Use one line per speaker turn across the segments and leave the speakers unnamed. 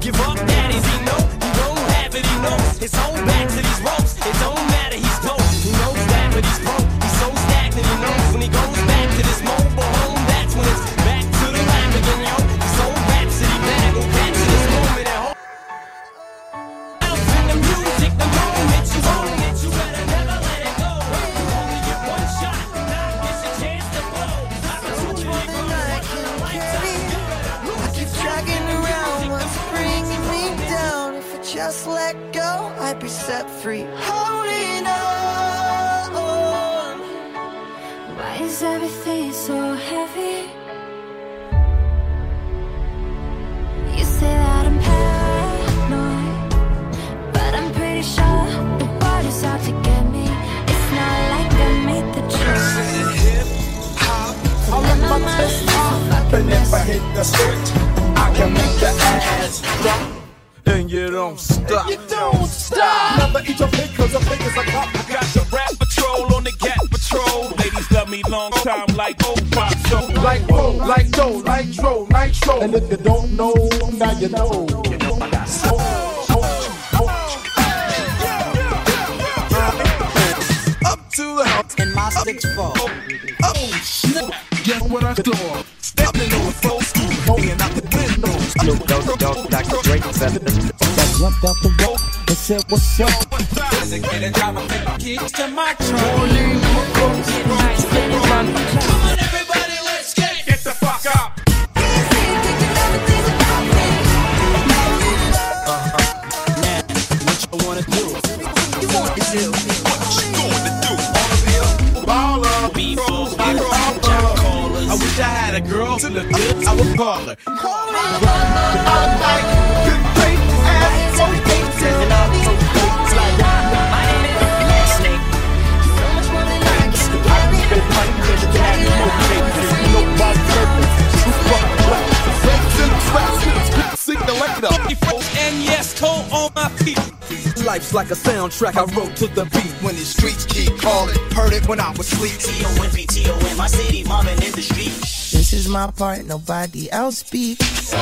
give up, daddies, he know, he don't have it, he knows. His whole back to these ropes, it don't matter, he's dope. He knows that, but he's broke. He's so stagnant, he knows when he goes back to this mobile home, that's when it's back to the lab again, yo. His whole rhapsody, man, go capture this moment at home. Out in the music, the moment you own it, you better never let it go. You only get one shot, now gets your chance to blow. Opportunity grows on a lifetime. You better
I keep dragging around what's bringing me down. If I just let go, I'd be set free. Holding on.
Why is everything so heavy? You say that I'm paranoid, but I'm pretty sure the world is out to get me. It's not like I made the choice.
I'm in my place top, and if I hit the switch, I can make the ass drop. And you don't stop. You don't stop. Never eat your pig, cause a pig is a cop. I got
The rap patrol on the gap patrol. Ladies love me long time like oh, old pop show.
Like whoa, like dough, like dro, nitro. And if you don't know, now you know. You know I got soul.
Up to the house and my sticks fall. Oh snap! Guess what I saw? Stepping on the floor, hanging out the windows. Snoop Dogg, Dogg, Dr. Dre, seven.
Jumped out the road and said, What's up?
Get the fuck up.
Baller,
be full.
I wish I had a girl to look good. I would call her.
And yes, Cole on my feet.
Life's like a soundtrack I wrote to the beat.
When the streets keep calling, heard it when I was asleep.
T-O-M-P-T-O-M, my city, mobbing in the street.
This is my part, nobody else speaks.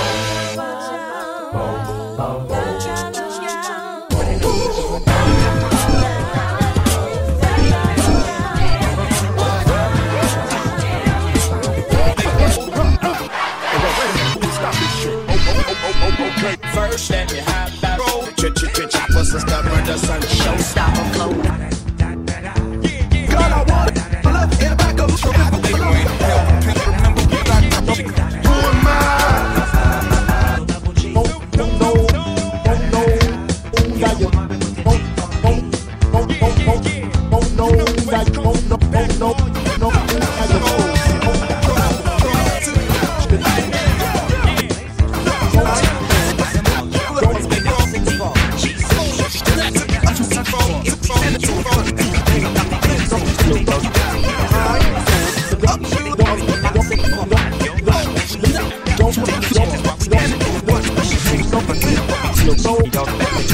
Oh,
First, let me hop out. Roll.
Choppers and stubborn, the sun show.
God, I want it. I love it in the back of my Who am I? Oh, no, no, oh, no. Oh, yeah, yeah. Oh, oh, oh, oh, oh. Oh, no, yeah, yeah. Oh, no, oh, no, no. Oh, yeah, yeah.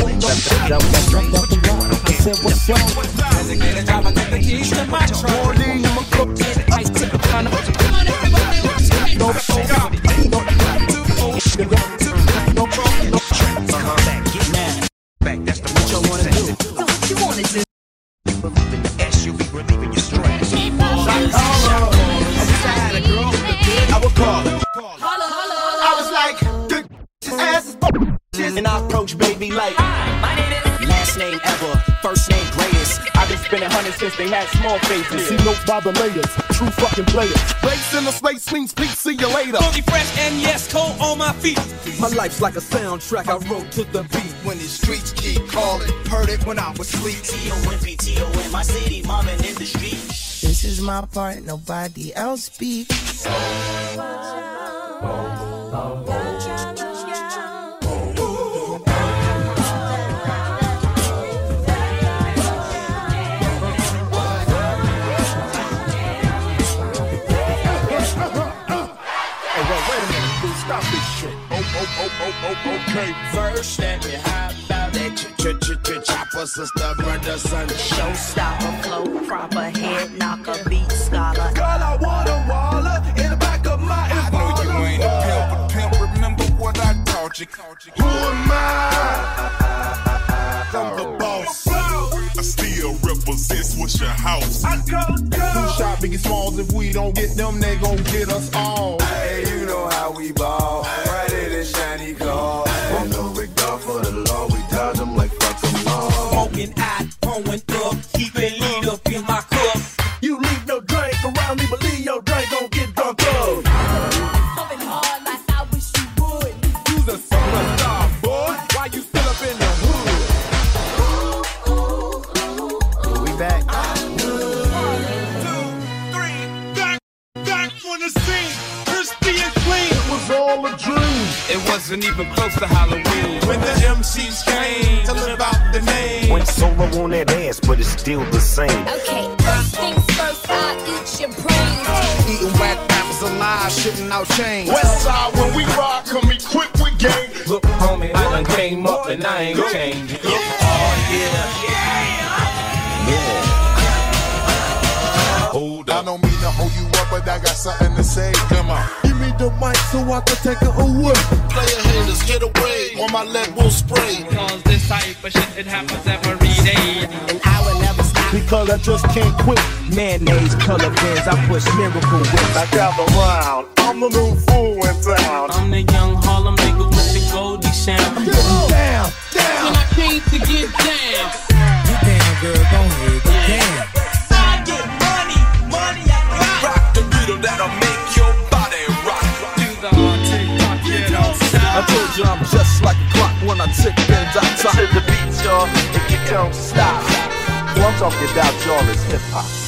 Jumped out the road and said, What's up?
I would call her. I was like, the his ass is fucking And I approach baby like,
Last name ever, first name greatest. I've been spending hundreds since they had small faces.
See no bother layers, true fucking players.
race in the space, means peace, see you later.
Funky fresh and yes, Cole on my feet.
My life's like a soundtrack I wrote to the beat.
When the streets keep calling, heard it when I was asleep.
T-O-M-P-T-O-M, my city, mobbing in the street.
This is my part, nobody else speaks.
Hey, well, wait a minute, dude, stop this shit. Oh, oh, oh, oh, oh, okay.
First, let me hop out.
That ch ch ch ch chopper sister, brother, son, show
Showstopper, flow proper, head knocker, beat scholar.
Girl, I want a waller in the back of my
I know you ain't a pimp, but pimp, remember what I taught
lethargic. Who am I? I'm the boss. I still represent Swisher House. I go,
Two shot Biggie Smalls. If we don't get them, they gon' get us all.
Hey, you know how we ball. Right in the shiny car. From the big dog for the law, we dodge 'em like fuck them all.
Smoking out, throwing up, keeping lead up in my cup.
You leave no drink around me, believe your drink gon' get drunk up.
You's a superstar, boy. Why you still up in the hood?
We back.
back on the scene, crispy and clean.
It was all a dream.
It wasn't even close to Halloween. When the MCs came, tell 'em about the name.
Went solo on that ass, but it's still the same.
Okay, first things first, I'll eat your brains.
Eating whack rappers alive, shitting out chains.
West side when we rock, come equipped with game.
Look, homie, I done came up and I ain't changed. Look, oh yeah.
Hold
I don't mean to hold you up, but I got something to say.
Come on.
Give me the mic so I can take it away.
Player haters, get away, or my leg will spray.
Cause this type of shit, it happens every day.
And I will never stop.
Because I just can't quit.
Mayonnaise, color pins, I push miracle whips.
I travel around, I'm the new fool in town.
I'm the young Harlem nigga with the Goldie
Down,
sound.
When
down.
I came to get down,
Get down, girl, go ahead, get down.
I get money, money I got.
Rock the riddle that'll make your body rock.
do the hard TikTok, you don't
I
stop.
told you I'm just like a clock when I tick and I
To the beat, y'all, if you don't stop. Well, I'm talking about y'all is hip hop.